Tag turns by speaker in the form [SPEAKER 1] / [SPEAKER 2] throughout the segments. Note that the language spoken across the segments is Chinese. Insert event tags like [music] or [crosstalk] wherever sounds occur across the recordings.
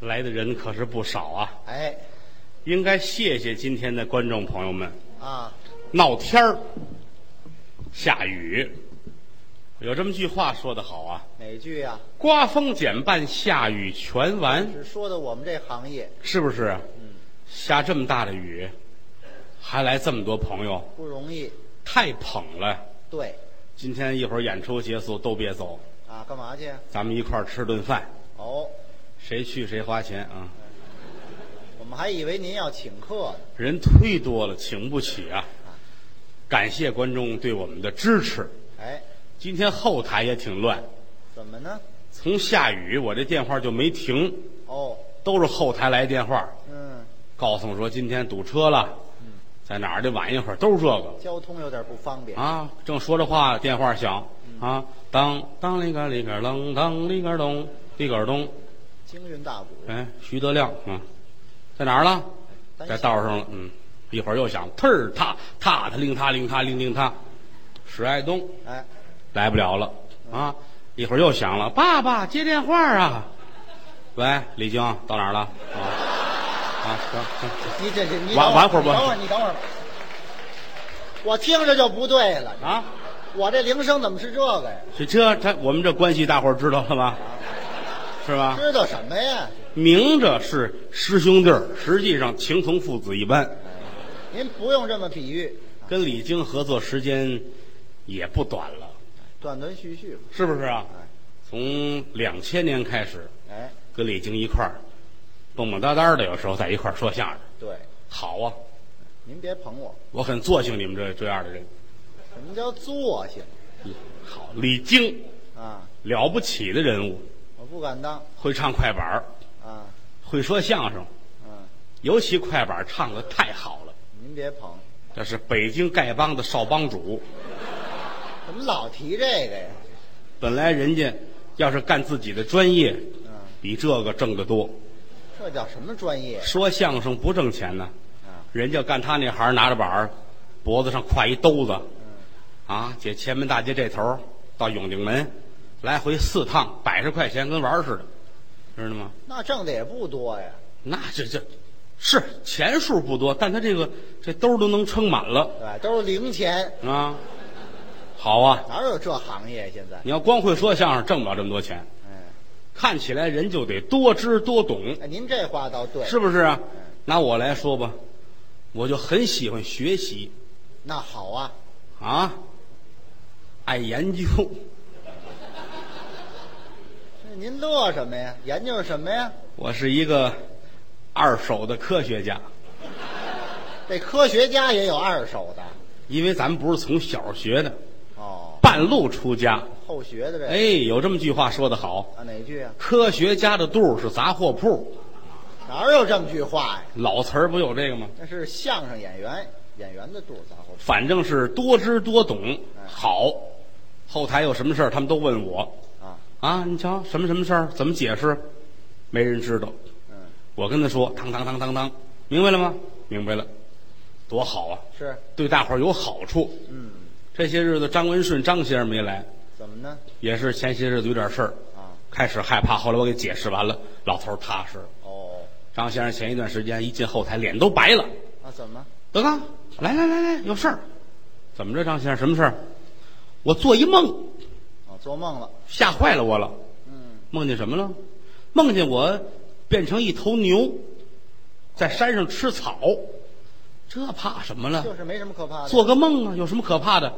[SPEAKER 1] 来的人可是不少啊，
[SPEAKER 2] 哎，
[SPEAKER 1] 应该谢谢今天的观众朋友们。
[SPEAKER 2] 啊，
[SPEAKER 1] 闹天儿，下雨，有这么句话说得好啊：
[SPEAKER 2] 哪句呀、
[SPEAKER 1] 刮风减半，下雨全完，
[SPEAKER 2] 只说的我们这行业
[SPEAKER 1] 是不是？下这么大的雨，还来这么多朋友，
[SPEAKER 2] 不容易。
[SPEAKER 1] 太捧了。
[SPEAKER 2] 对，
[SPEAKER 1] 今天一会儿演出结束都别走，
[SPEAKER 2] 啊，干嘛去？
[SPEAKER 1] 咱们一块儿吃顿饭，
[SPEAKER 2] 哦，
[SPEAKER 1] 谁去谁花钱啊！
[SPEAKER 2] 我们还以为您要请客呢。
[SPEAKER 1] 人忒多了，请不起啊！感谢观众对我们的支持。
[SPEAKER 2] 哎，
[SPEAKER 1] 今天后台也挺乱，
[SPEAKER 2] 怎么呢？
[SPEAKER 1] 从下雨我这电话就没停，
[SPEAKER 2] 哦，
[SPEAKER 1] 都是后台来电话，
[SPEAKER 2] 嗯，
[SPEAKER 1] 告诉我说今天堵车了，在哪儿的晚一会儿，都是这个
[SPEAKER 2] 交通有点不方便。
[SPEAKER 1] 啊。正说着话，电话响啊，当当里个里个啷，当里个咚，里个咚。
[SPEAKER 2] 京韵大鼓，
[SPEAKER 1] 哎，徐德亮，嗯，在哪儿了？
[SPEAKER 2] 单
[SPEAKER 1] 在
[SPEAKER 2] 线
[SPEAKER 1] 道上了，嗯，一会儿又响，特儿踏踏踏令他令他令令他，史爱东
[SPEAKER 2] 哎，
[SPEAKER 1] 来不了了啊！一会儿又响了，爸爸接电话啊！喂，李晶到哪儿了？啊啊，行行
[SPEAKER 2] 你这这你
[SPEAKER 1] 晚
[SPEAKER 2] 等
[SPEAKER 1] 晚会儿吧
[SPEAKER 2] 你等会儿，你等会儿吧。我听着就不对了，
[SPEAKER 1] 啊，
[SPEAKER 2] 我这铃声怎么是这个呀？
[SPEAKER 1] 这这他我们这关系大伙儿知道了吧？是吧？
[SPEAKER 2] 知道什么呀？
[SPEAKER 1] 明着是师兄弟儿，实际上情同父子一般。
[SPEAKER 2] 您不用这么比喻，
[SPEAKER 1] 跟李菁合作时间也不短了。
[SPEAKER 2] 断断续续吧。
[SPEAKER 1] 是不是啊
[SPEAKER 2] 哎？
[SPEAKER 1] 从两千年开始，
[SPEAKER 2] 哎，
[SPEAKER 1] 跟李菁一块儿，蹦蹦哒哒的，有时候在一块儿说相声，
[SPEAKER 2] 对，
[SPEAKER 1] 好啊！
[SPEAKER 2] 您别捧我。
[SPEAKER 1] 我很作兴你们这这样的人，
[SPEAKER 2] 什么叫作性
[SPEAKER 1] 好，李菁
[SPEAKER 2] 啊？
[SPEAKER 1] 了不起的人物，
[SPEAKER 2] 我不敢当
[SPEAKER 1] 会唱快板儿
[SPEAKER 2] 啊，
[SPEAKER 1] 会说相声，
[SPEAKER 2] 嗯，
[SPEAKER 1] 尤其快板儿唱的太好了。
[SPEAKER 2] 您别捧，
[SPEAKER 1] 这是北京丐帮的少帮主，
[SPEAKER 2] 怎么老提这个呀？
[SPEAKER 1] 本来人家要是干自己的专业，
[SPEAKER 2] 嗯，
[SPEAKER 1] 比这个挣得多。
[SPEAKER 2] 这叫什么专业
[SPEAKER 1] 说相声不挣钱呢，
[SPEAKER 2] 啊？
[SPEAKER 1] 人家干他那行，拿着板儿，脖子上挎一兜子，啊，姐前门大街这头儿到永定门，来回四趟，百十块钱跟玩儿似的，知道吗？
[SPEAKER 2] 那挣的也不多呀。
[SPEAKER 1] 那这这，是钱数不多，但他这个这兜儿都能撑满了
[SPEAKER 2] 对吧，都是零钱，
[SPEAKER 1] 啊。好啊，
[SPEAKER 2] 哪有这行业现在？
[SPEAKER 1] 你要光会说相声，挣不了这么多钱。
[SPEAKER 2] 哎，
[SPEAKER 1] 看起来人就得多知多懂，
[SPEAKER 2] 哎您这话倒对，
[SPEAKER 1] 是不是啊？拿我来说吧，我就很喜欢学习
[SPEAKER 2] 那好啊，
[SPEAKER 1] 啊，爱研究。
[SPEAKER 2] 这您乐什么呀？研究什么呀？
[SPEAKER 1] 我是一个二手的科学家，
[SPEAKER 2] 这科学家也有二手的
[SPEAKER 1] 因为咱们不是从小学的，
[SPEAKER 2] 哦，
[SPEAKER 1] 半路出家。
[SPEAKER 2] 后学的这
[SPEAKER 1] 哎，有这么句话说得好
[SPEAKER 2] 啊哪句啊？：“
[SPEAKER 1] 科学家的肚儿是杂货铺。
[SPEAKER 2] 哪有这么句话呀”？
[SPEAKER 1] 老词儿不有这个吗？
[SPEAKER 2] 那是相声演员演员的肚子后
[SPEAKER 1] 反正是多知多懂，好。后台有什么事儿，他们都问我
[SPEAKER 2] 啊，
[SPEAKER 1] 啊。你瞧什么什么事儿，怎么解释？没人知道。
[SPEAKER 2] 嗯，
[SPEAKER 1] 我跟他说：“当当当当当，明白了吗？明白了，多好啊！
[SPEAKER 2] 是，
[SPEAKER 1] 对大伙儿有好处。”
[SPEAKER 2] 嗯，
[SPEAKER 1] 这些日子张文顺张先生没来，
[SPEAKER 2] 怎么呢？
[SPEAKER 1] 也是前些日子有点事儿，
[SPEAKER 2] 啊，
[SPEAKER 1] 开始害怕，后来我给解释完了，老头儿踏实了。
[SPEAKER 2] 哦，
[SPEAKER 1] 张先生前一段时间一进后台，脸都白了。
[SPEAKER 2] 那怎么？
[SPEAKER 1] 德刚，来来来来，有事儿。怎么着，张先生？什么事儿？我做一梦，
[SPEAKER 2] 哦，做梦了。
[SPEAKER 1] 吓坏了我了。
[SPEAKER 2] 嗯，
[SPEAKER 1] 梦见什么了？梦见我变成一头牛，在山上吃草。这怕什么
[SPEAKER 2] 就
[SPEAKER 1] 了？
[SPEAKER 2] 是没什么可怕的。
[SPEAKER 1] 做个梦啊，有什么可怕的？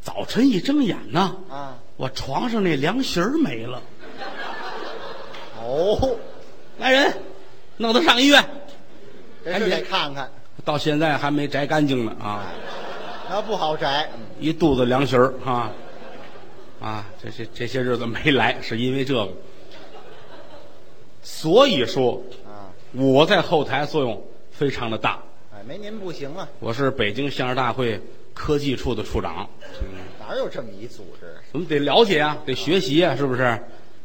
[SPEAKER 1] 早晨一睁眼呐，
[SPEAKER 2] 啊，
[SPEAKER 1] 我床上那凉席儿没了。
[SPEAKER 2] 哦，
[SPEAKER 1] 来人，弄他上医院。
[SPEAKER 2] 这
[SPEAKER 1] 哎
[SPEAKER 2] 是得看看，
[SPEAKER 1] 到现在还没摘干净呢啊！
[SPEAKER 2] 那不好摘。嗯
[SPEAKER 1] 一肚子凉席儿啊啊！这些这些日子没来，是因为这个。所以说，
[SPEAKER 2] 啊，
[SPEAKER 1] 我在后台作用非常的大。
[SPEAKER 2] 哎，没您不行啊，
[SPEAKER 1] 我是北京相声大会科技处的处长，
[SPEAKER 2] 哪有这么一组织？
[SPEAKER 1] 我们得了解啊，得学习啊，是不是？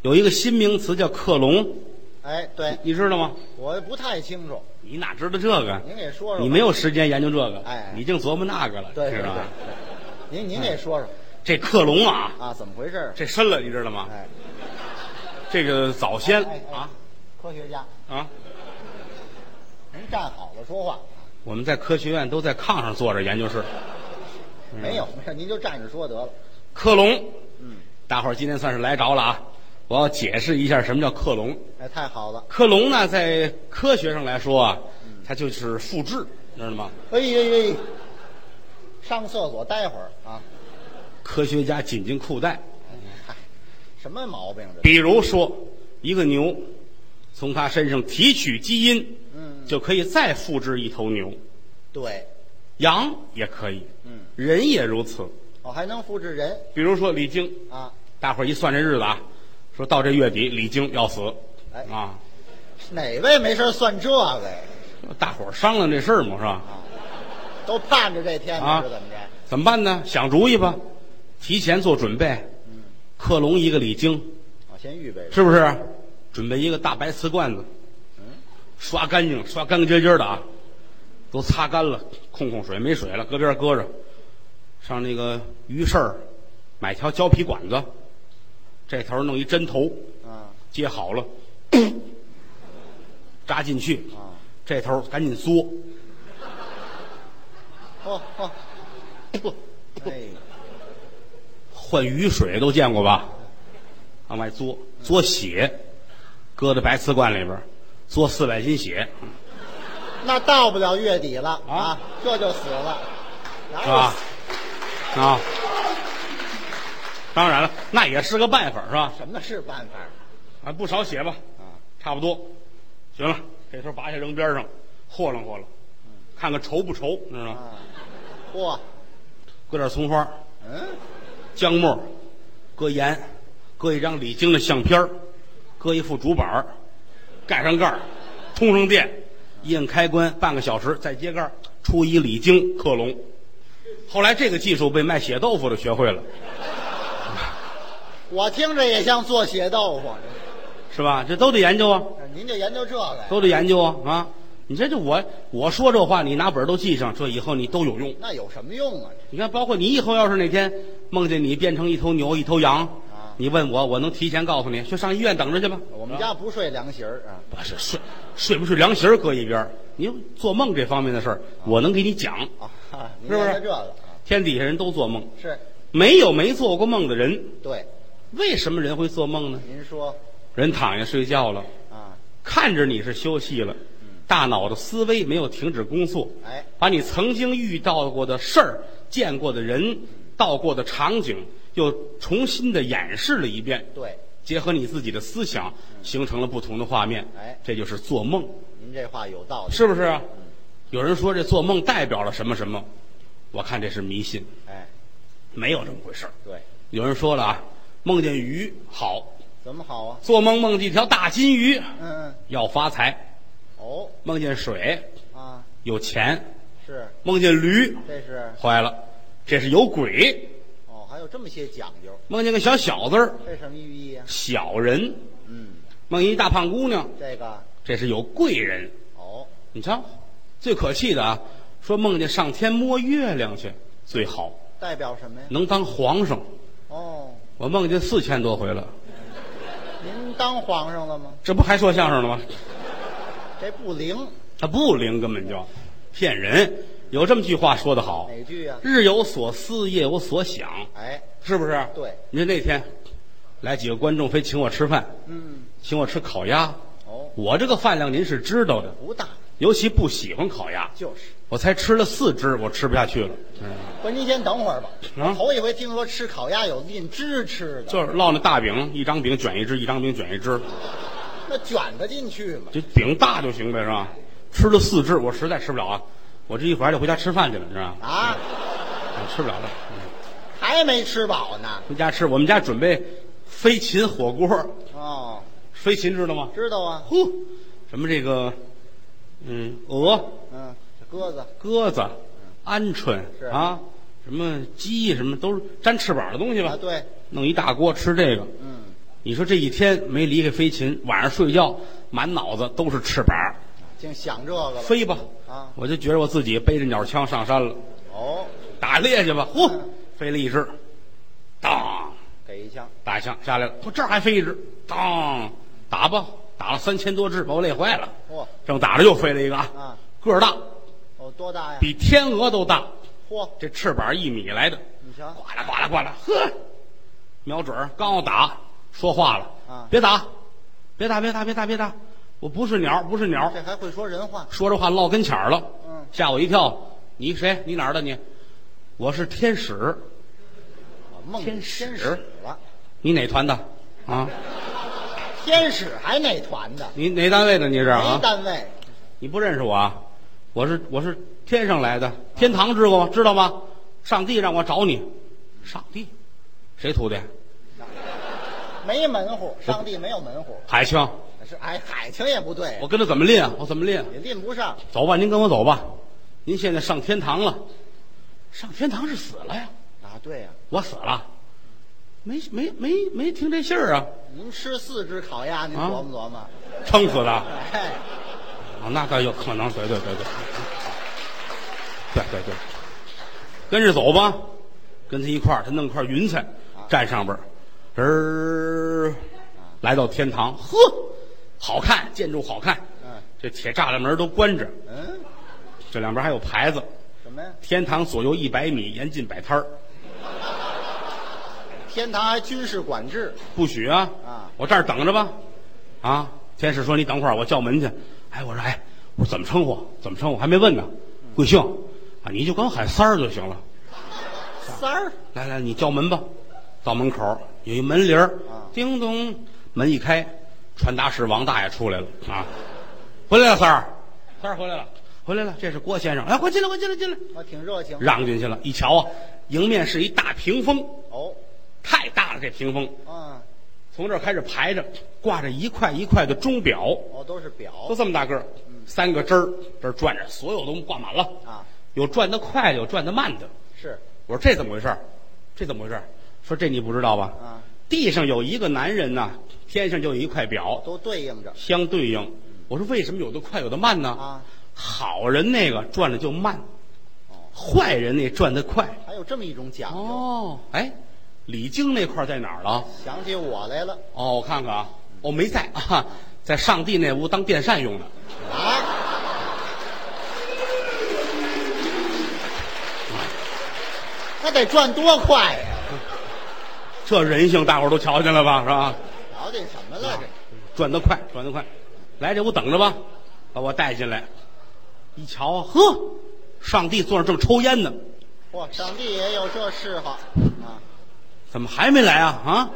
[SPEAKER 1] 有一个新名词叫克隆，
[SPEAKER 2] 哎，对
[SPEAKER 1] 你知道吗？
[SPEAKER 2] 我不太清楚，
[SPEAKER 1] 你哪知道这个？
[SPEAKER 2] 您给说说吧。
[SPEAKER 1] 你没有时间研究这个，
[SPEAKER 2] 哎
[SPEAKER 1] 你净琢磨那个了，
[SPEAKER 2] 对
[SPEAKER 1] 知
[SPEAKER 2] 对对
[SPEAKER 1] 道啊吧？
[SPEAKER 2] 对您您给说说
[SPEAKER 1] 这克隆啊，
[SPEAKER 2] 啊，怎么回事？
[SPEAKER 1] 这深了，你知道吗？
[SPEAKER 2] 哎，
[SPEAKER 1] 这个早先
[SPEAKER 2] 哎哎
[SPEAKER 1] 啊，
[SPEAKER 2] 科学家，
[SPEAKER 1] 啊！
[SPEAKER 2] 您站好了说话。
[SPEAKER 1] 我们在科学院都在炕上坐着研究室。嗯
[SPEAKER 2] 没有，没事，您就站着说得了。
[SPEAKER 1] 克隆，
[SPEAKER 2] 嗯，
[SPEAKER 1] 大伙儿今天算是来着了啊！我要解释一下什么叫克隆。
[SPEAKER 2] 哎，太好了。
[SPEAKER 1] 克隆呢，在科学上来说啊，它就是复制，知道吗？
[SPEAKER 2] 哎哎哎，哎上厕所待会儿啊。
[SPEAKER 1] 科学家紧紧裤带。
[SPEAKER 2] 嗨，什么毛病这？
[SPEAKER 1] 比如说，一个牛，从它身上提取基因，
[SPEAKER 2] 嗯
[SPEAKER 1] 就可以再复制一头牛。
[SPEAKER 2] 对，
[SPEAKER 1] 羊也可以，
[SPEAKER 2] 嗯，
[SPEAKER 1] 人也如此。
[SPEAKER 2] 我、哦还能复制人
[SPEAKER 1] 比如说李菁，
[SPEAKER 2] 啊？
[SPEAKER 1] 大伙儿一算这日子啊，说到这月底李菁要死，
[SPEAKER 2] 哎
[SPEAKER 1] 啊，
[SPEAKER 2] 哪位没事儿算这个呀？
[SPEAKER 1] 大伙儿商量这事儿嘛，是吧？
[SPEAKER 2] 都盼着这天
[SPEAKER 1] 啊
[SPEAKER 2] 呢，是怎么着？
[SPEAKER 1] 怎么办呢？想主意吧，提前做准备，克隆一个李菁，
[SPEAKER 2] 我先预备着。
[SPEAKER 1] 是不是？准备一个大白瓷罐子，刷干净，刷干干净净的啊，都擦干了，控控水，没水了，搁边儿搁着。上那个鱼市儿买条胶皮管子，这头儿弄一针头，
[SPEAKER 2] 啊
[SPEAKER 1] 接好了，扎进去，
[SPEAKER 2] 啊！
[SPEAKER 1] 这头儿赶紧缩，
[SPEAKER 2] 嚯嚯！哎，
[SPEAKER 1] 换雨水都见过吧？往外嘬嘬血，搁在白瓷罐里边儿嘬四百斤血，
[SPEAKER 2] 那到不了月底了
[SPEAKER 1] 啊
[SPEAKER 2] 啊，这就死了，哪
[SPEAKER 1] 是
[SPEAKER 2] 有
[SPEAKER 1] 吧
[SPEAKER 2] 死？
[SPEAKER 1] 啊，当然了，那也是个办法，是吧？
[SPEAKER 2] 什么是办法
[SPEAKER 1] 啊，不少血吧，
[SPEAKER 2] 啊？
[SPEAKER 1] 差不多，行了，这头拔下扔边上，和楞和楞，看看稠不稠，你知道吗？
[SPEAKER 2] 啊，嚯，
[SPEAKER 1] 搁点葱花，
[SPEAKER 2] 嗯，
[SPEAKER 1] 姜末，搁盐，搁一张李菁的相片儿搁一副竹板儿盖上盖儿，通上电，一摁开关，半个小时再揭盖儿，出一李菁克隆。后来这个技术被卖血豆腐的学会了，
[SPEAKER 2] 我听着也像做血豆腐。
[SPEAKER 1] 是吧？这都得研究啊，
[SPEAKER 2] 您就研究这个呀？
[SPEAKER 1] 都得研究啊啊！你这就我我说这话，你拿本儿都记上，这以后你都有用。
[SPEAKER 2] 那有什么用啊？
[SPEAKER 1] 你看，包括你以后要是哪天梦见你变成一头牛、一头羊
[SPEAKER 2] 啊，
[SPEAKER 1] 你问我，我能提前告诉你，去上医院等着去吧。
[SPEAKER 2] 我们家不睡凉席儿啊，
[SPEAKER 1] 不是睡睡不睡凉席儿搁一边儿，你做梦这方面的事儿，我能给你讲。
[SPEAKER 2] 啊，哈您
[SPEAKER 1] 是不是
[SPEAKER 2] 研究这个啊？
[SPEAKER 1] 天底下人都做梦，
[SPEAKER 2] 是，
[SPEAKER 1] 没有没做过梦的人。
[SPEAKER 2] 对，
[SPEAKER 1] 为什么人会做梦呢？
[SPEAKER 2] 您说
[SPEAKER 1] 人躺下睡觉了，
[SPEAKER 2] 啊，
[SPEAKER 1] 看着你是休息了，大脑的思维没有停止工作，
[SPEAKER 2] 哎，
[SPEAKER 1] 把你曾经遇到过的事儿、见过的人、到过的场景，又重新的演示了一遍。
[SPEAKER 2] 对，
[SPEAKER 1] 结合你自己的思想，形成了不同的画面。
[SPEAKER 2] 哎
[SPEAKER 1] 这就是做梦，
[SPEAKER 2] 您这话有道理。
[SPEAKER 1] 是不是啊？有人说这做梦代表了什么什么，我看这是迷信，
[SPEAKER 2] 哎，
[SPEAKER 1] 没有这么回事儿。
[SPEAKER 2] 对，
[SPEAKER 1] 有人说了啊，梦见鱼好，
[SPEAKER 2] 怎么好啊？
[SPEAKER 1] 做梦梦见一条大金鱼，
[SPEAKER 2] 嗯，
[SPEAKER 1] 要发财；
[SPEAKER 2] 哦，
[SPEAKER 1] 梦见水
[SPEAKER 2] 啊，
[SPEAKER 1] 有钱，
[SPEAKER 2] 是，
[SPEAKER 1] 梦见驴
[SPEAKER 2] 这是，
[SPEAKER 1] 坏了，这是有鬼；
[SPEAKER 2] 哦，还有这么些讲究，
[SPEAKER 1] 梦见个小小子儿
[SPEAKER 2] 这什么寓意啊？
[SPEAKER 1] 小人，
[SPEAKER 2] 嗯，
[SPEAKER 1] 梦见一大胖姑娘，
[SPEAKER 2] 这个，
[SPEAKER 1] 这是有贵人。
[SPEAKER 2] 哦，
[SPEAKER 1] 你瞧，最可气的啊，说梦见上天摸月亮去最好，
[SPEAKER 2] 代表什么呀？
[SPEAKER 1] 能当皇上。
[SPEAKER 2] 哦，
[SPEAKER 1] 我梦见四千多回了，
[SPEAKER 2] 您当皇上了吗？
[SPEAKER 1] 这不还说相声呢吗？
[SPEAKER 2] 这不灵，
[SPEAKER 1] 他不灵，根本就骗人。有这么句话说得好
[SPEAKER 2] 哪句啊：“？
[SPEAKER 1] 日有所思，夜有所想
[SPEAKER 2] 哎，”，
[SPEAKER 1] 是不是？
[SPEAKER 2] 对。
[SPEAKER 1] 你说那天来几个观众非请我吃饭，
[SPEAKER 2] 嗯，
[SPEAKER 1] 请我吃烤鸭，
[SPEAKER 2] 哦，
[SPEAKER 1] 我这个饭量您是知道的，
[SPEAKER 2] 不大，
[SPEAKER 1] 尤其不喜欢烤鸭，
[SPEAKER 2] 就是。
[SPEAKER 1] 我才吃了四只，我吃不下去了。
[SPEAKER 2] 不是，您先等会儿吧。
[SPEAKER 1] 啊
[SPEAKER 2] 头一回听说吃烤鸭有印汁吃的，
[SPEAKER 1] 就是烙那大饼，一张饼卷一只，一张饼卷一只，
[SPEAKER 2] 那卷得进去吗？
[SPEAKER 1] 这饼大就行呗，是吧？吃了四只，我实在吃不了啊！我这一会儿还得回家吃饭去了，你知道吗？
[SPEAKER 2] 啊，
[SPEAKER 1] 哎吃不了了，
[SPEAKER 2] 还没吃饱呢。
[SPEAKER 1] 回家吃。我们家准备飞禽火锅，
[SPEAKER 2] 哦，
[SPEAKER 1] 飞禽知道吗？
[SPEAKER 2] 知道啊。
[SPEAKER 1] 呼，什么这个，嗯，鹅、
[SPEAKER 2] 嗯，这鸽子
[SPEAKER 1] 鸽子、鹌鹑
[SPEAKER 2] 是
[SPEAKER 1] 啊，什么鸡什么都是沾翅膀的东西
[SPEAKER 2] 啊，
[SPEAKER 1] 吧？
[SPEAKER 2] 对，
[SPEAKER 1] 弄一大锅吃这个，
[SPEAKER 2] 嗯，
[SPEAKER 1] 你说这一天没离开飞禽，晚上睡觉满脑子都是翅膀。
[SPEAKER 2] 净想这个了。
[SPEAKER 1] 飞吧！
[SPEAKER 2] 啊，
[SPEAKER 1] 我就觉着我自己背着鸟枪上山了，
[SPEAKER 2] 哦，
[SPEAKER 1] 打猎去吧。嚯
[SPEAKER 2] 嗯，
[SPEAKER 1] 飞了一只，当，
[SPEAKER 2] 给一枪，
[SPEAKER 1] 打一枪下来了。我这儿还飞一只，当，打吧。打了三千多只，把我累坏了。
[SPEAKER 2] 嚯、
[SPEAKER 1] 正打着又飞了一个啊，
[SPEAKER 2] 啊，
[SPEAKER 1] 个儿大，
[SPEAKER 2] 哦，多大呀？
[SPEAKER 1] 比天鹅都大，
[SPEAKER 2] 嚯，
[SPEAKER 1] 这翅膀一米来的，
[SPEAKER 2] 你瞧，
[SPEAKER 1] 呱啦呱啦呱啦，呵，瞄准儿，刚要打，说话了，
[SPEAKER 2] 啊
[SPEAKER 1] 别打，别打，别打，别打，别打，我不是鸟，不是鸟，
[SPEAKER 2] 这还会说人话。
[SPEAKER 1] 说着话落跟前儿了，
[SPEAKER 2] 嗯
[SPEAKER 1] 吓我一跳，你谁？你哪儿的你？我是天使，
[SPEAKER 2] 我梦见
[SPEAKER 1] 天
[SPEAKER 2] 天
[SPEAKER 1] 使
[SPEAKER 2] 使了，
[SPEAKER 1] 你哪团的？啊，
[SPEAKER 2] 天使还哪团的？
[SPEAKER 1] 你哪单位的？你是
[SPEAKER 2] 没
[SPEAKER 1] 啊？
[SPEAKER 2] 单位，
[SPEAKER 1] 你不认识我啊？我是我是天上来的，天堂知道吗？知道吗？上帝让我找你，上帝，谁徒弟？
[SPEAKER 2] 没门户，上帝没有门户。
[SPEAKER 1] 海清，
[SPEAKER 2] 是哎，海清也不对
[SPEAKER 1] 我，跟他怎么练啊？我怎么练啊？
[SPEAKER 2] 也拎不上。
[SPEAKER 1] 走吧，您跟我走吧。您现在上天堂了，上天堂是死了呀？
[SPEAKER 2] 啊，对呀、
[SPEAKER 1] 我死了，没没没没听这信儿啊？
[SPEAKER 2] 您吃四只烤鸭，您
[SPEAKER 1] 啊
[SPEAKER 2] 琢磨琢磨。
[SPEAKER 1] 撑死的啊？
[SPEAKER 2] 哎，
[SPEAKER 1] 那倒有可能，对对对对，对对对，跟着走吧，跟他一块儿，他弄块云彩站上边儿，人儿来到天堂，呵，好看，建筑好看，
[SPEAKER 2] 嗯
[SPEAKER 1] 这铁栅栏门都关着，
[SPEAKER 2] 嗯，
[SPEAKER 1] 这两边还有牌子，
[SPEAKER 2] 什么呀？
[SPEAKER 1] 天堂左右一百米，严禁摆摊儿。
[SPEAKER 2] 天堂还军事管制，
[SPEAKER 1] 不许啊！
[SPEAKER 2] 啊
[SPEAKER 1] 我这儿等着吧。啊，天使说你等会儿，我叫门去。哎，我说哎，我说怎么称呼？怎么称呼？还没问呢。
[SPEAKER 2] 嗯
[SPEAKER 1] 贵姓啊？你就光喊三儿就行了。
[SPEAKER 2] 三儿
[SPEAKER 1] 来来，你叫门吧。到门口有一门铃儿
[SPEAKER 2] 啊，
[SPEAKER 1] 叮咚，门一开，传达室王大爷出来了啊，回来了三儿，三儿回来了，回来了，这是郭先生，哎来，快进来，快进来，进来，
[SPEAKER 2] 我挺热情。
[SPEAKER 1] 让进去了。一瞧啊，迎面是一大屏风，
[SPEAKER 2] 哦，
[SPEAKER 1] 太大了，这屏风。
[SPEAKER 2] 啊，
[SPEAKER 1] 从这儿开始排着，挂着一块一块的钟表，
[SPEAKER 2] 哦，都是表
[SPEAKER 1] 都这么大个儿，三个针儿这儿转着，所有都挂满了，
[SPEAKER 2] 啊，
[SPEAKER 1] 有转得快的，有转得慢的。
[SPEAKER 2] 是
[SPEAKER 1] 我说这怎么回事儿？这怎么回事儿？说这你不知道吧？
[SPEAKER 2] 啊，
[SPEAKER 1] 地上有一个男人呐，天上就有一块表，
[SPEAKER 2] 都对应着
[SPEAKER 1] 相对应。我说为什么有的快，有的慢呢？
[SPEAKER 2] 嗯啊。
[SPEAKER 1] 好人那个转的就慢
[SPEAKER 2] 哦，
[SPEAKER 1] 坏人那转的快。
[SPEAKER 2] 还有这么一种讲究，
[SPEAKER 1] 哦，哎，李菁那块儿在哪儿了？
[SPEAKER 2] 想起我来了
[SPEAKER 1] 哦，我看看啊，我、没在啊，在上帝那屋当电扇用的。
[SPEAKER 2] 啊！那得转多快呀！
[SPEAKER 1] 这人性，大伙儿都瞧见了吧？是吧？
[SPEAKER 2] 瞧见什么了？这
[SPEAKER 1] 转得快，转得快，来这屋等着吧，把我带进来。一瞧啊，呵，上帝坐那儿正抽烟呢，
[SPEAKER 2] 嚯，上帝也有这嗜好啊！
[SPEAKER 1] 怎么还没来啊？啊，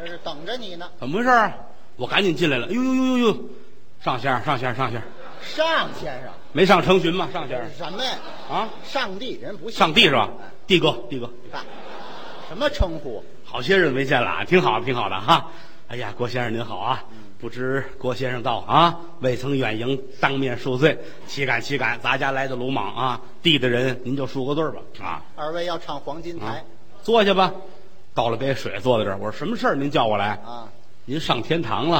[SPEAKER 2] 这是等着你呢，
[SPEAKER 1] 怎么回事啊？我赶紧进来了。呦呦呦呦呦，上仙儿，上仙儿，上仙儿，
[SPEAKER 2] 上先生，
[SPEAKER 1] 没上成群吗？上仙
[SPEAKER 2] 这
[SPEAKER 1] 儿
[SPEAKER 2] 是什么呀？
[SPEAKER 1] 啊，
[SPEAKER 2] 上帝人不信
[SPEAKER 1] 上帝是吧？帝哥，帝哥，
[SPEAKER 2] 啊什么称呼？
[SPEAKER 1] 好些日子没见了啊，挺好，挺好的哈、哎呀，郭先生您好啊！不知郭先生到啊，未曾远迎，当面恕罪，岂敢岂敢！咱家来的鲁莽啊，地的人您就恕个罪吧啊
[SPEAKER 2] 二位要唱黄金
[SPEAKER 1] 啊
[SPEAKER 2] 台！
[SPEAKER 1] 坐下吧，倒了杯水，坐在这儿。我说什么事儿？您叫我来？
[SPEAKER 2] 啊
[SPEAKER 1] 您上天堂了，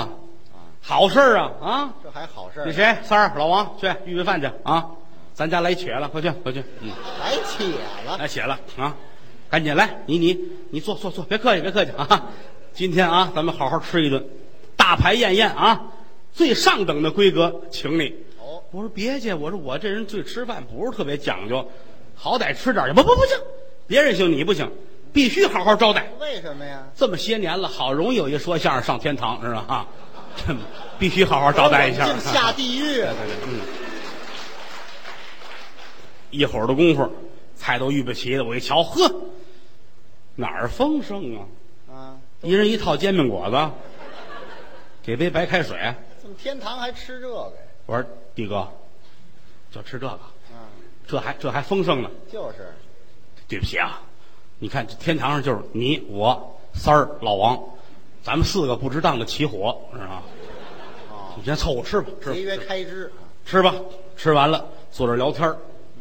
[SPEAKER 2] 啊，
[SPEAKER 1] 好事儿啊啊！
[SPEAKER 2] 这还好事儿
[SPEAKER 1] 那，谁，三儿、老王去预备饭去啊！咱家来且了，快去，快去，嗯。
[SPEAKER 2] 还且了
[SPEAKER 1] [laughs] 来写了啊，赶紧来，你你你坐坐坐，别客气别客气啊！今天啊，咱们好好吃一顿，大排宴宴啊，最上等的规格，请你。
[SPEAKER 2] 哦，
[SPEAKER 1] 我说别介，我说我这人对吃饭不是特别讲究，好歹吃点儿去。不不不行，别人行你不行，必须好好招待。
[SPEAKER 2] 为什么呀？
[SPEAKER 1] 这么些年了，好容易有一说相声上天堂，知道吗？啊，必须好好招待一下。啊
[SPEAKER 2] 净下地狱！
[SPEAKER 1] 一会儿的功夫，菜都预备齐了，我一瞧，呵，哪儿丰盛啊！
[SPEAKER 2] 啊，
[SPEAKER 1] 一人一套煎饼果子，给杯白开水。
[SPEAKER 2] 怎么天堂还吃这个呀？
[SPEAKER 1] 我说弟哥，就吃这个，
[SPEAKER 2] 啊，
[SPEAKER 1] 这还这还丰盛呢。
[SPEAKER 2] 就是
[SPEAKER 1] 对不起啊，你看这天堂上就是你我三儿老王，咱们四个不值当的起火，是吧？
[SPEAKER 2] 哦，哎
[SPEAKER 1] 你先凑合吃吧，吃吧
[SPEAKER 2] 节约开支
[SPEAKER 1] 吃吧，吃完了坐这儿聊天儿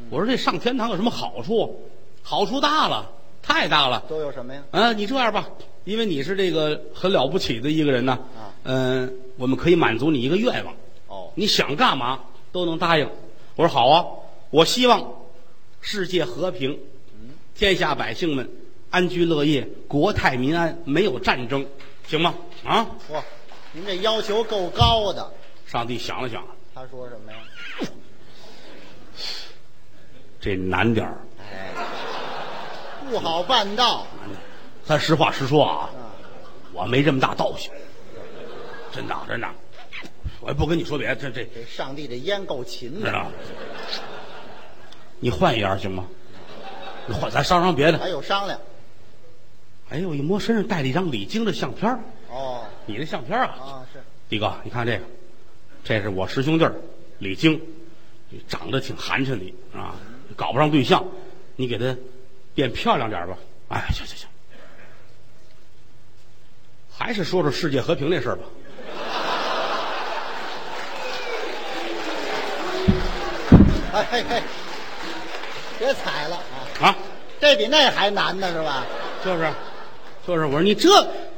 [SPEAKER 1] 我说这上天堂有什么好处？好处大了，太大了。
[SPEAKER 2] 都有什么呀？
[SPEAKER 1] 啊，你这样吧，因为你是这个很了不起的一个人呢，
[SPEAKER 2] 啊
[SPEAKER 1] 嗯、我们可以满足你一个愿望，
[SPEAKER 2] 哦，
[SPEAKER 1] 你想干嘛都能答应。我说好啊，我希望世界和平，
[SPEAKER 2] 嗯
[SPEAKER 1] 天下百姓们安居乐业，国泰民安，没有战争，行吗？啊，
[SPEAKER 2] 哇，您这要求够高的。
[SPEAKER 1] 上帝想了想，
[SPEAKER 2] 他说什么呀？
[SPEAKER 1] 这难点儿，
[SPEAKER 2] 不好办到
[SPEAKER 1] 难点儿。咱实话实说啊，
[SPEAKER 2] 啊！
[SPEAKER 1] 我没这么大道行，真的啊真的，我也不跟你说别的，这这
[SPEAKER 2] 这上帝这烟够勤
[SPEAKER 1] 知
[SPEAKER 2] 的，
[SPEAKER 1] 道？啊你换一样行吗？你换，咱商量别的。
[SPEAKER 2] 还有商量。
[SPEAKER 1] 哎呦，一摸身上带了一张李菁的相片儿
[SPEAKER 2] 哦，
[SPEAKER 1] 你这相片儿啊，
[SPEAKER 2] 啊是，
[SPEAKER 1] 弟哥，你看这个，这是我师兄弟儿李菁，长得挺寒碜的啊，搞不上对象，你给他变漂亮点儿吧。哎，行行行，还是说说世界和平那事儿吧。
[SPEAKER 2] 哎嘿嘿，别踩了啊！
[SPEAKER 1] 啊，
[SPEAKER 2] 这比那还难呢，是吧？
[SPEAKER 1] 就是，就是，我说你这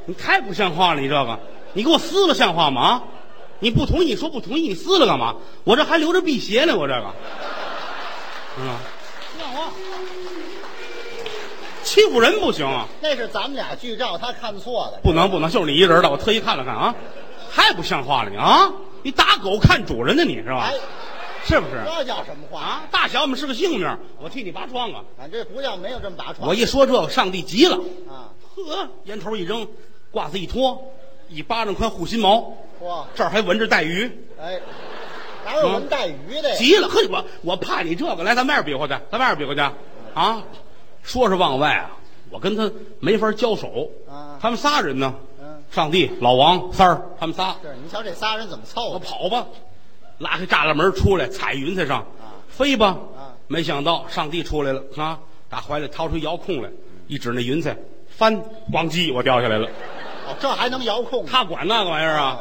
[SPEAKER 1] 你太不像话了，你这个，你给我撕了像话吗？啊，你不同意，你说不同意，你撕了干嘛？我这还留着辟邪呢，我这个，嗯，像话，欺负人不行啊！
[SPEAKER 2] 那是咱们俩剧照，他看错了。
[SPEAKER 1] 不能不能，就是你一人的，我特意看了看啊，太不像话了你啊！你打狗看主人呢你是吧
[SPEAKER 2] 哎？，
[SPEAKER 1] 是不是？
[SPEAKER 2] 这叫什么话？
[SPEAKER 1] 啊，大小我们是个性命，我替你拔窗啊！
[SPEAKER 2] 俺这不叫没有这么拔
[SPEAKER 1] 我
[SPEAKER 2] 床
[SPEAKER 1] 一说这个，上帝急了。
[SPEAKER 2] 啊！
[SPEAKER 1] 呵，烟头一扔，褂子一脱，一巴掌宽护心毛，
[SPEAKER 2] 嚯，
[SPEAKER 1] 这儿还闻着带鱼，
[SPEAKER 2] 哎，哪有人带鱼的呀？
[SPEAKER 1] 嗯急了，呵，我我怕你这个，来，咱外边比划去，咱外边比划去，啊，说是往外啊，我跟他没法交手，
[SPEAKER 2] 啊
[SPEAKER 1] 他们仨人呢，
[SPEAKER 2] 嗯，
[SPEAKER 1] 上帝、老王、三儿，他们仨，
[SPEAKER 2] 是，你瞧这仨人怎么凑
[SPEAKER 1] 我
[SPEAKER 2] 的？
[SPEAKER 1] 跑吧，拉开栅栏门出来，踩云彩上，
[SPEAKER 2] 啊
[SPEAKER 1] 飞吧，
[SPEAKER 2] 啊
[SPEAKER 1] 没想到上帝出来了啊，打怀里掏出遥控来，一指那云彩，翻，咣叽，我掉下来了。
[SPEAKER 2] 哦，这还能遥控？
[SPEAKER 1] 他管那个玩意儿啊，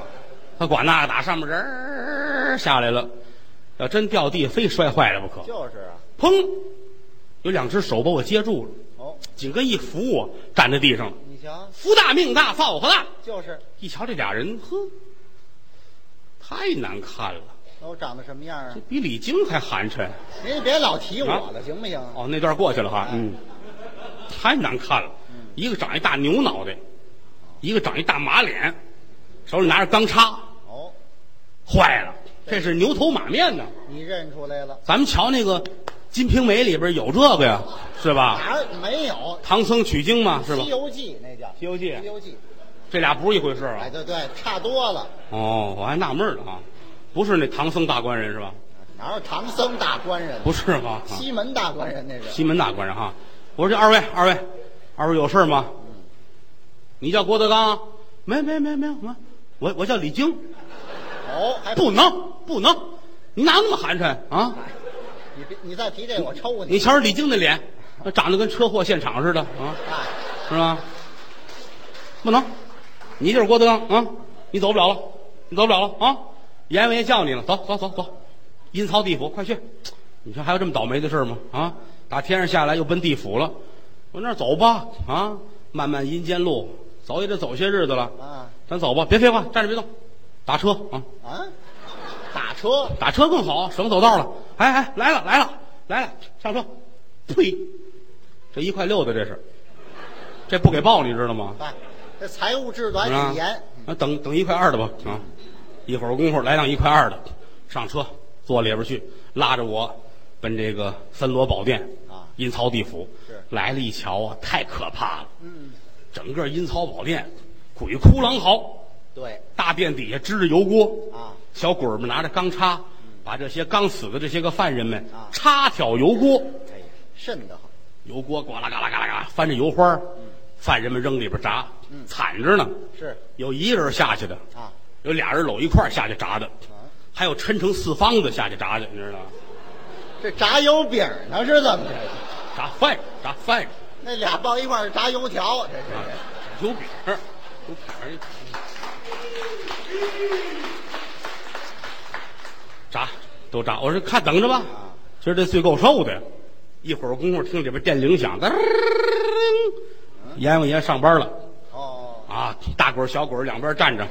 [SPEAKER 1] 他管那个打上面人儿下来了，要真掉地非摔坏了不可。
[SPEAKER 2] 就是啊，
[SPEAKER 1] 砰，有两只手把我接住了，
[SPEAKER 2] 哦，
[SPEAKER 1] 紧跟一扶我站在地上，
[SPEAKER 2] 你瞧，
[SPEAKER 1] 福大命大，造化大。
[SPEAKER 2] 就是，
[SPEAKER 1] 一瞧这俩人，呵，太难看了，
[SPEAKER 2] 都长得什么样啊
[SPEAKER 1] 这？比李菁还寒碜。
[SPEAKER 2] 您别老提我了，行不啊行？
[SPEAKER 1] 哦，那段过去了哈，嗯， [laughs] 太难看了，一个长一大牛脑袋，一个长一大马脸，手里拿着钢叉。
[SPEAKER 2] 哦，
[SPEAKER 1] 坏了，这是牛头马面呢。
[SPEAKER 2] 你认出来了？
[SPEAKER 1] 咱们瞧那个《金瓶梅》里边有这个呀，是吧？
[SPEAKER 2] 哪儿没有？
[SPEAKER 1] 唐僧取经嘛，是吧
[SPEAKER 2] 西？游记》那叫《
[SPEAKER 1] 西游记
[SPEAKER 2] 西游记》。
[SPEAKER 1] 这俩不是一回事儿
[SPEAKER 2] 哎，
[SPEAKER 1] 啊。
[SPEAKER 2] 对对，差多了。
[SPEAKER 1] 哦，我还纳闷儿呢啊，不是那唐僧大官人是吧？
[SPEAKER 2] 哪有唐僧大官人？
[SPEAKER 1] 不是吧？啊
[SPEAKER 2] 西门大官人那是。
[SPEAKER 1] 西门大官人啊。我说这二位，二位，二位有事儿吗？你叫郭德纲啊？没没没没有，我我我叫李菁。
[SPEAKER 2] 哦，还
[SPEAKER 1] 不能不能，你哪有那么寒碜啊？
[SPEAKER 2] 你别你再提这个我抽
[SPEAKER 1] 你
[SPEAKER 2] 你。
[SPEAKER 1] 瞧瞧李菁那脸，长得跟车祸现场似的啊。
[SPEAKER 2] 哎，
[SPEAKER 1] 是吧？不能，你就是郭德纲啊！你走不了了，你走不了了啊！阎王爷叫你了，走走走走，阴曹地府，快去！你说还有这么倒霉的事儿吗？啊，打天上下来又奔地府了，往那儿走吧啊！漫漫阴间路，走也得走些日子了，
[SPEAKER 2] 啊
[SPEAKER 1] 咱走吧，别废话，站着别动，打车啊！
[SPEAKER 2] 啊，打车
[SPEAKER 1] 打车更好，啊省走道了。哎哎，来了来了来了，上车！呸，这一块六的这是，这不给报你知道吗？
[SPEAKER 2] 哎，这财务制度还
[SPEAKER 1] 啊
[SPEAKER 2] 挺严。
[SPEAKER 1] 啊，等等一块二的吧，啊，一会儿功夫来辆一块二的，上车坐里边去，拉着我奔这个森罗宝殿
[SPEAKER 2] 啊
[SPEAKER 1] 阴曹地府
[SPEAKER 2] 是
[SPEAKER 1] 来了一瞧啊，太可怕了，
[SPEAKER 2] 嗯，
[SPEAKER 1] 整个阴曹宝殿鬼哭狼嚎，
[SPEAKER 2] 对
[SPEAKER 1] 大殿底下支着油锅，
[SPEAKER 2] 啊，嗯
[SPEAKER 1] 小鬼儿们拿着钢叉，把这些刚死的这些个犯人们
[SPEAKER 2] 啊
[SPEAKER 1] 插挑油锅，
[SPEAKER 2] 哎呀，瘆得慌。
[SPEAKER 1] 油锅呱啦嘎啦嘎啦嘎啦翻着油花儿，犯人们扔里边炸，惨着呢，
[SPEAKER 2] 嗯是
[SPEAKER 1] 有一个人下去的。
[SPEAKER 2] 啊
[SPEAKER 1] 有俩人搂一块儿下去炸的，
[SPEAKER 2] 啊，
[SPEAKER 1] 还有抻成四方的下去炸去，你知道吗？
[SPEAKER 2] 这炸油饼呢是怎么着？
[SPEAKER 1] 炸饭人，炸饭人，
[SPEAKER 2] 那俩抱一块儿炸油条，这是
[SPEAKER 1] 油饼儿，油饼儿，炸都炸。我说看等着吧，今儿这罪够受的。一会儿功夫听里边电铃响，噔，阎王爷上班了
[SPEAKER 2] 哦，
[SPEAKER 1] 啊！大鬼儿小鬼儿两边站着，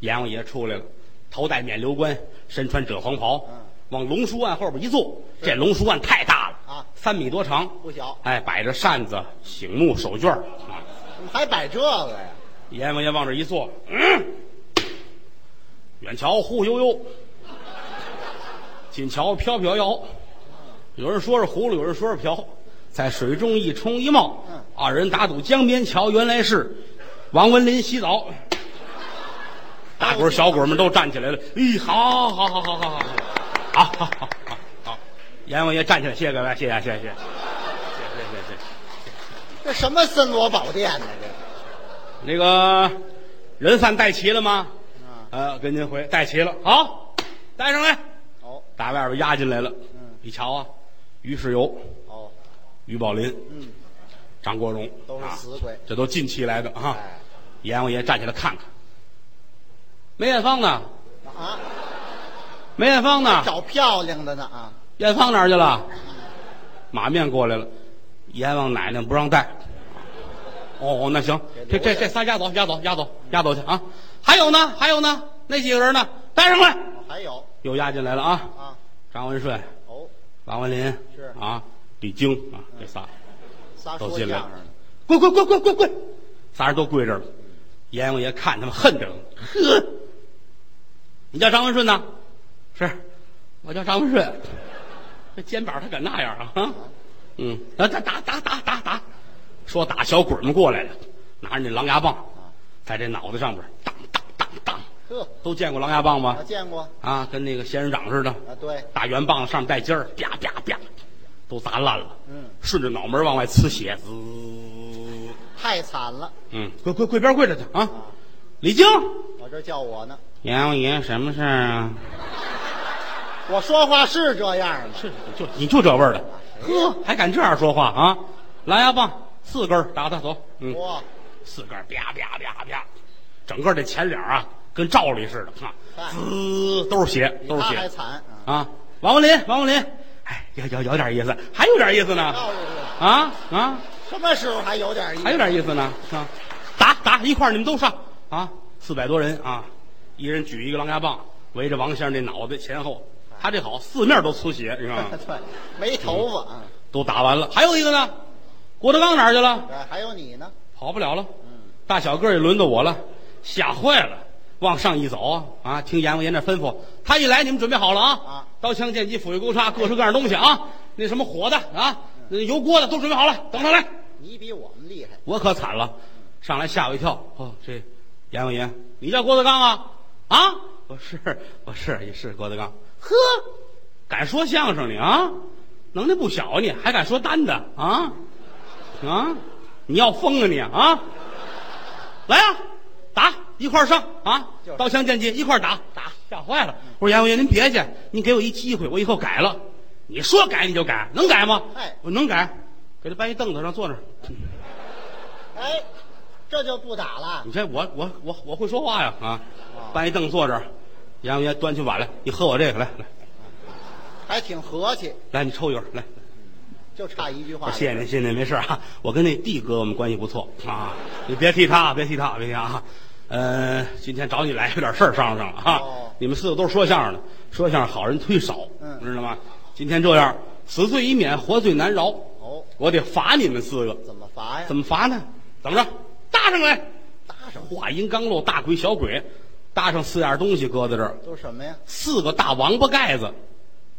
[SPEAKER 1] 阎王爷出来了，头戴冕旒冠，身穿赭黄袍
[SPEAKER 2] 嗯，
[SPEAKER 1] 往龙书案后边一坐。这龙书案太大了
[SPEAKER 2] 啊
[SPEAKER 1] 三米多长，
[SPEAKER 2] 不小，
[SPEAKER 1] 哎，摆着扇子、醒目、手绢儿啊。
[SPEAKER 2] 怎么还摆这个呀？
[SPEAKER 1] 阎王爷往这一坐，嗯，远瞧忽悠悠，近瞧飘飘摇。有人说是葫芦，有人说是瓢，在水中一冲一冒。
[SPEAKER 2] 嗯
[SPEAKER 1] 二人打赌江边桥原来是王文林洗澡。大鬼儿小鬼儿们都站起来了。咦，好好好好好好好，好好好好好。阎王爷站起来，谢谢各位，谢谢谢谢谢谢谢谢谢谢。
[SPEAKER 2] 这什么森罗宝殿呢？这
[SPEAKER 1] 那个人贩带齐了吗？
[SPEAKER 2] 啊，
[SPEAKER 1] 呃，跟您回带齐了，好，带上来。
[SPEAKER 2] 哦
[SPEAKER 1] 打外边押进来了，
[SPEAKER 2] 嗯
[SPEAKER 1] 一瞧啊，于世友、
[SPEAKER 2] 哦，
[SPEAKER 1] 于宝林、
[SPEAKER 2] 嗯，
[SPEAKER 1] 张国荣
[SPEAKER 2] 都是
[SPEAKER 1] 啊
[SPEAKER 2] 死鬼
[SPEAKER 1] 这都近期来的啊。
[SPEAKER 2] 哎
[SPEAKER 1] 阎王爷站起来看看，梅艳芳呢？
[SPEAKER 2] 啊，
[SPEAKER 1] 梅艳芳呢？
[SPEAKER 2] 找漂亮的呢啊，
[SPEAKER 1] 艳芳哪儿去了？马面过来了，阎王奶奶不让带。哦，那行，这这这仨押走，押走，押走，押走去啊！还有呢，还有呢，那几个人呢？带上来，
[SPEAKER 2] 哦还有
[SPEAKER 1] 又押进来了啊！
[SPEAKER 2] 啊，
[SPEAKER 1] 张文顺、
[SPEAKER 2] 哦，
[SPEAKER 1] 王文林
[SPEAKER 2] 是
[SPEAKER 1] 啊，李菁啊，这仨
[SPEAKER 2] 仨
[SPEAKER 1] 都
[SPEAKER 2] 说
[SPEAKER 1] 进
[SPEAKER 2] 相
[SPEAKER 1] 来
[SPEAKER 2] 声
[SPEAKER 1] 了
[SPEAKER 2] 的，，
[SPEAKER 1] 跪跪跪跪跪跪，仨人都跪这儿了。阎王爷看他们恨着了，呵，你叫张文顺呐？是，我叫张文顺。这肩膀他敢那样啊？啊嗯，打打打打打打打，说打小鬼儿们过来了，拿着那狼牙棒，在这脑袋上边儿当当当当，
[SPEAKER 2] 呵，
[SPEAKER 1] 都见过狼牙棒吗
[SPEAKER 2] 我？见过
[SPEAKER 1] 啊，跟那个仙人掌似的，
[SPEAKER 2] 啊，对，
[SPEAKER 1] 大圆棒子上面带尖儿，啪啪啪，都砸烂了。
[SPEAKER 2] 嗯，
[SPEAKER 1] 顺着脑门往外呲血，滋。
[SPEAKER 2] 太惨了，
[SPEAKER 1] 嗯，跪跪跪边跪着去啊！李菁，
[SPEAKER 2] 我这叫我呢，
[SPEAKER 1] 阎王爷什么事儿啊？
[SPEAKER 2] 我说话是这样的，
[SPEAKER 1] 是就你就这味儿的，呵，还敢这样说话啊？狼牙棒四根儿打他走，嗯，
[SPEAKER 2] 哇，
[SPEAKER 1] 四根儿啪啪啪啪，整个这前脸啊跟罩里似的，啊，
[SPEAKER 2] 嗨
[SPEAKER 1] 滋都是血，
[SPEAKER 2] 比
[SPEAKER 1] 都是
[SPEAKER 2] 他还
[SPEAKER 1] 血
[SPEAKER 2] 惨啊，
[SPEAKER 1] 啊！王文林，王文林，哎，有有有点意思，还有点意思呢，
[SPEAKER 2] 要是
[SPEAKER 1] 啊啊！
[SPEAKER 2] 什么时候还有点意思？
[SPEAKER 1] 还有点意思呢啊！打打一块儿，你们都上啊！四百多人啊，一人举一个狼牙棒，围着王先生这脑袋前后。他这好，四面都出血，你知道吗
[SPEAKER 2] [laughs] 对，没头发啊，
[SPEAKER 1] 都打完了，还有一个呢，郭德纲哪儿去了？
[SPEAKER 2] 对，还有你呢，
[SPEAKER 1] 跑不了了，大小个儿也轮到我了，吓坏了。往上一走啊啊！听阎王爷那吩咐，他一来你们准备好了啊！
[SPEAKER 2] 啊
[SPEAKER 1] 刀枪剑戟斧钺钩叉，各式各样的东西啊！那什么火的啊，那油锅的都准备好了，等他来。
[SPEAKER 2] 你比我们厉害，
[SPEAKER 1] 我可惨了，上来吓我一跳。哦，这阎王爷，你叫郭德纲啊？啊，我是我是也是郭德纲。呵，敢说相声你啊，能耐不小啊你，还敢说单的啊？啊，你要疯啊你啊！来啊，打一块儿上啊
[SPEAKER 2] 就！是
[SPEAKER 1] 刀枪剑戟一块儿打打，吓坏了。我说阎王爷您别去，您给我一机会，我以后改了。你说改你就改，能改吗？
[SPEAKER 2] 哎
[SPEAKER 1] 我能改，给他搬一凳子上坐那儿。
[SPEAKER 2] 哎，这就不打了
[SPEAKER 1] 你，看我我我我会说话呀啊！搬一凳坐这儿，阎王爷端起碗来，你喝我这个来来
[SPEAKER 2] 还挺和气，
[SPEAKER 1] 来，你抽一根来。
[SPEAKER 2] 就差一句话
[SPEAKER 1] 我
[SPEAKER 2] 了，
[SPEAKER 1] 谢谢您，谢谢您，没事啊。我跟那弟哥我们关系不错啊，你别提他，别提他，别提他啊。呃，今天找你来有点事儿商量商量啊
[SPEAKER 2] 哦。
[SPEAKER 1] 你们四个都是说相声的，说相声好人忒少，
[SPEAKER 2] 嗯
[SPEAKER 1] 知道吗？今天这样，死罪已免，活罪难饶。
[SPEAKER 2] 哦，
[SPEAKER 1] 我得罚你们四个，
[SPEAKER 2] 怎么罚呀？
[SPEAKER 1] 怎
[SPEAKER 2] 么
[SPEAKER 1] 么罚呢？怎么着？搭上来。
[SPEAKER 2] 搭上？
[SPEAKER 1] 话音刚落，大鬼小鬼搭上四样东西搁在这儿，
[SPEAKER 2] 都什么呀？
[SPEAKER 1] 四个大王八盖子，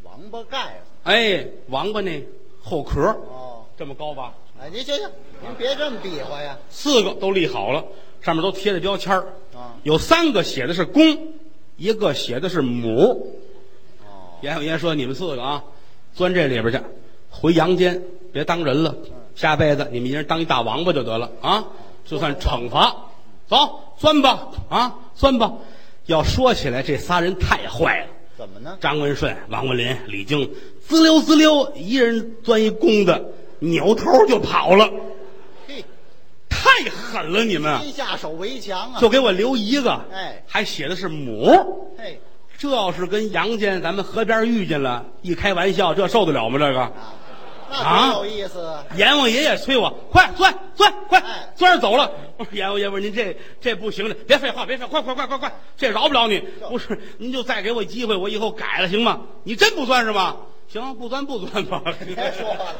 [SPEAKER 2] 王八盖子。
[SPEAKER 1] 哎，王八那后壳
[SPEAKER 2] 哦，
[SPEAKER 1] 这么高吧，
[SPEAKER 2] 哎，您行行，您别这么比划呀。
[SPEAKER 1] 四个都立好了，上面都贴着标签儿
[SPEAKER 2] 啊
[SPEAKER 1] 有三个写的是公，一个写的是母。
[SPEAKER 2] 哦，
[SPEAKER 1] 阎王爷说：“你们四个啊，钻这里边去，回阳间，别当人了。下辈子你们一人当一大王八就得了啊，就算惩罚。走，钻吧啊，钻吧。要说起来，这仨人太坏了。”
[SPEAKER 2] 怎么呢？
[SPEAKER 1] 张文顺、王文林、李菁，滋溜滋溜，一人钻一弓的，扭头就跑了，
[SPEAKER 2] 嘿，
[SPEAKER 1] 太狠了！你们
[SPEAKER 2] 先下手为强啊。
[SPEAKER 1] 啊就给我留一个，
[SPEAKER 2] 哎
[SPEAKER 1] 还写的是母。
[SPEAKER 2] 嘿，
[SPEAKER 1] 这要是跟杨坚咱们河边遇见了，一开玩笑，这受得了吗？这个
[SPEAKER 2] 啊，
[SPEAKER 1] 啊
[SPEAKER 2] 那多有意思啊！
[SPEAKER 1] 阎王爷也催我，快钻钻快
[SPEAKER 2] 哎
[SPEAKER 1] 钻着走了。我说阎王爷，我说您这这不行了，别废话，别废话，快快快快快，这饶不了你。不是，您就再给我机会，我以后改了行吗？你真不钻是吧？行，不钻不钻吧。
[SPEAKER 2] 别说话了，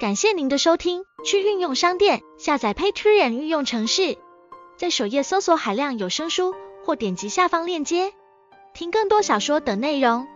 [SPEAKER 3] 感谢您的收听，去运用商店下载 Patreon 运用城市，在首页搜索海量有声书，或点击下方链接听更多小说等内容。